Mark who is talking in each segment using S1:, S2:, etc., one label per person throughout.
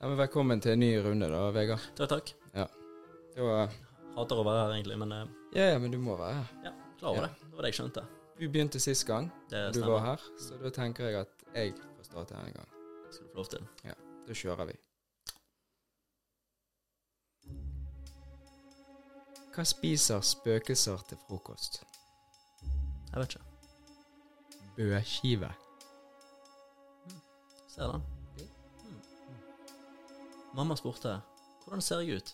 S1: Ja, men velkommen til en ny runde, da, Vegard.
S2: Takk, takk.
S1: Da,
S2: Hater å være her, egentlig, men eh,
S1: ja, ja, men du må være her.
S2: ja, klar over
S1: Ja.
S2: det. Det var det jeg skjønte.
S1: Du begynte sist gang
S2: Det
S1: og du var
S2: stemmer.
S1: her, så da tenker jeg at jeg får starte her en gang.
S2: Skal du få lov til.
S1: Da kjører vi. Hva spiser spøkelser til frokost?
S2: Jeg vet ikke.
S1: Bøskive.
S2: Ser den. Mm. Mamma spurte hvordan ser jeg ut?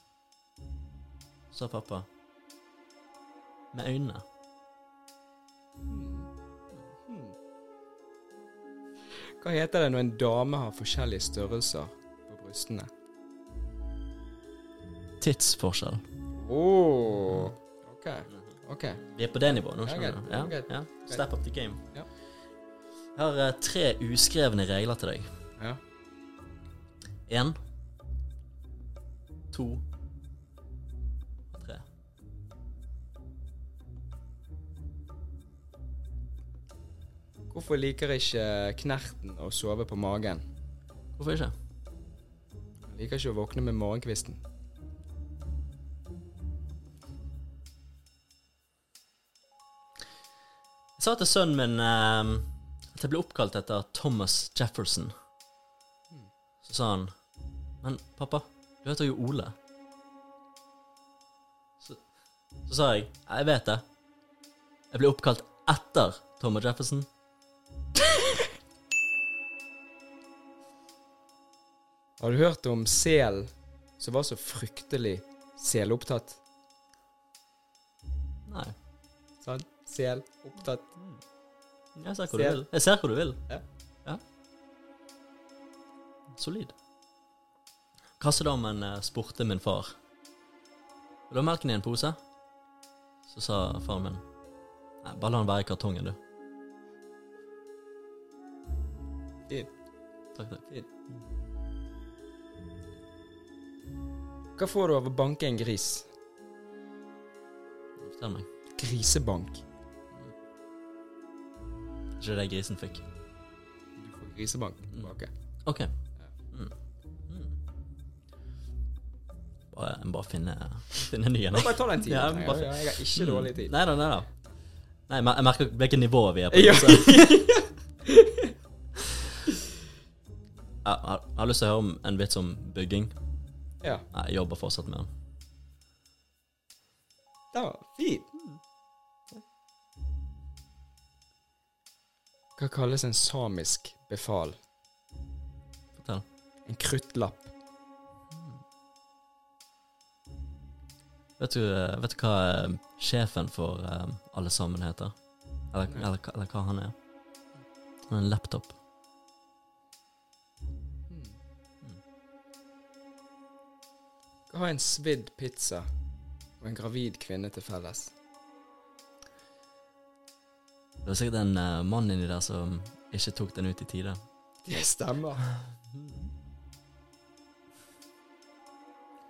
S2: Sa pappa. Med øynene.
S1: Hva heter det når en dame har forskjellige størrelser på brystene?
S2: Tidsforskjell.
S1: Åh, ok, ok.
S2: Vi er på det nivået nå,
S1: Ja,
S2: skjønner
S1: greit,
S2: du. Ja,
S1: greit,
S2: ja. Step up the game.
S1: Ja.
S2: Jeg har eh, tre uskrevne regler til deg.
S1: Ja.
S2: Én, to og tre.
S1: Hvorfor liker ikke knerten å sove på magen?
S2: Hvorfor ikke?
S1: Han liker ikke å våkne med morgenkvisten.
S2: Jeg sa til sønnen min eh, at jeg ble oppkalt etter Thomas Jefferson. Så sa han Men pappa, du heter jo Ole. Så, så sa jeg «Ja, Jeg vet det. Jeg ble oppkalt etter Thomas Jefferson.
S1: Har du hørt om selen som var så fryktelig selopptatt?
S2: Nei.
S1: Sant? Sel opptatt.
S2: Jeg ser
S1: Ser.
S2: hvor du vil. Jeg ser hvor du vil.
S1: Ja.
S2: Ja. Solid. Kassedamen eh, spurte min far Vil du ha melken i en pose? Så sa faren min Nei, bare la den være i kartongen, du.
S1: Fint.
S2: Takk, takk.
S1: Hva får du av å banke en gris?
S2: Fortell meg.
S1: Grisebank.
S2: Er Ikke det grisen fikk.
S1: Du får grisebank tilbake.
S2: OK. Mm. Mm. Bare, jeg må bare finne, finne en ny en.
S1: Bare ta den tiden.
S2: Ja,
S1: du trenger.
S2: bare-
S1: Ja, jeg har ikke dårlig tid.
S2: Nei da, nei da. Mm. Nei, men jeg merker hvilket nivå vi er på.
S1: Ja.
S2: så. jeg, har, jeg har lyst til å høre om en vits om bygging.
S1: Ja,
S2: Nei, jeg jobber fortsatt med den.
S1: den var fin. Hva kalles en samisk befal?
S2: Fortell.
S1: En kruttlapp.
S2: Vet du, eh, vet du hva eh, sjefen for eh, alle sammen heter? Eller,
S1: Nei.
S2: eller, hva- eller hva han er? Han er en laptop.
S1: Hva har en svidd pizza og en gravid kvinne til felles?
S2: Det var sikkert en eh, mann inni der som ikke tok den ut i tide.
S1: Det stemmer.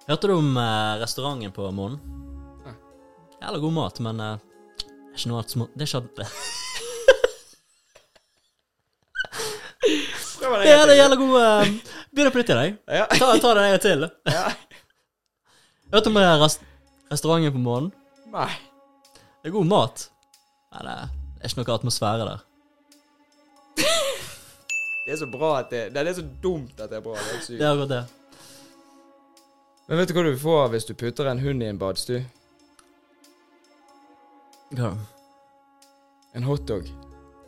S2: Hørte du om eh, restauranten på månen?
S1: Nei.
S2: Jævla god mat, men eh, det er ikke noe alt små... Det er ikke alt...
S1: Prøv
S2: Det er det jævla god eh, Begynn å flytte deg.
S1: Ja.
S2: Ta, ta den en gang til.
S1: Ja.
S2: Hørte om eh, rest restauranten på månen?
S1: Nei.
S2: Det er god mat. Nei, det er- det er ikke noe atmosfære der.
S1: Det er så bra at det, det er så dumt at det er bra. Det er sykt.
S2: Det er akkurat det.
S1: Men vet du hva du får hvis du putter en hund i en badstue?
S2: Ja.
S1: En hotdog.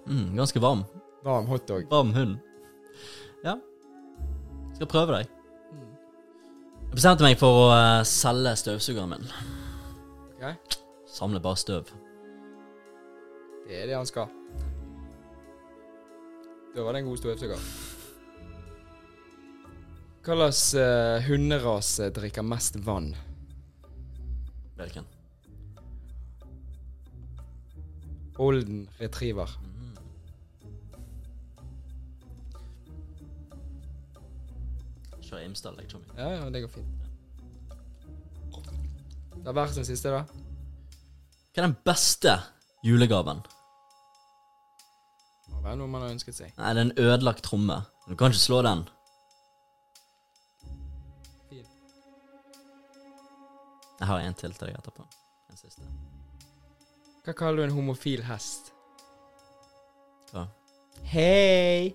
S2: Mm, ganske varm.
S1: Varm hotdog.
S2: Varm hund. Ja. Skal prøve deg. Jeg bestemte meg for å eh, selge støvsugeren min.
S1: Ok?
S2: Samle bare støv.
S1: Det er det han skal. Da var det en god støvsuger. Hva slags eh, hunderase drikker mest vann?
S2: Hvilken?
S1: Olden retriever.
S2: Kjør Imsdal, jeg, Tommy.
S1: Ja, ja, det går fint. Det har vært den siste, da.
S2: Hva er den beste julegaven?
S1: Må være noe man har ønsket seg.
S2: Nei, det er en ødelagt tromme. Du kan ikke slå den.
S1: Fin.
S2: Jeg har en til til deg etterpå. En siste.
S1: Hva kaller du en homofil hest?
S2: Hva?
S1: Hei!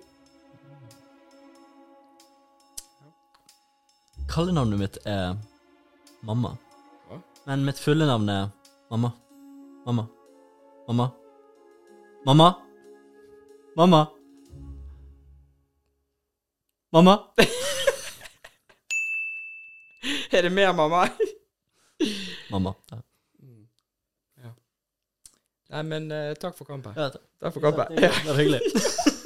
S2: Kallenavnet mitt er Mamma.
S1: Hva?
S2: Men mitt fulle navn er Mamma. Mamma. Mamma. Mamma. Mamma. Mamma.
S1: Er det mer, mamma?
S2: Mamma.
S1: Nei, men eh, takk for kampen.
S2: Ja, takk.
S1: Takk for kampen.
S2: Det var hyggelig.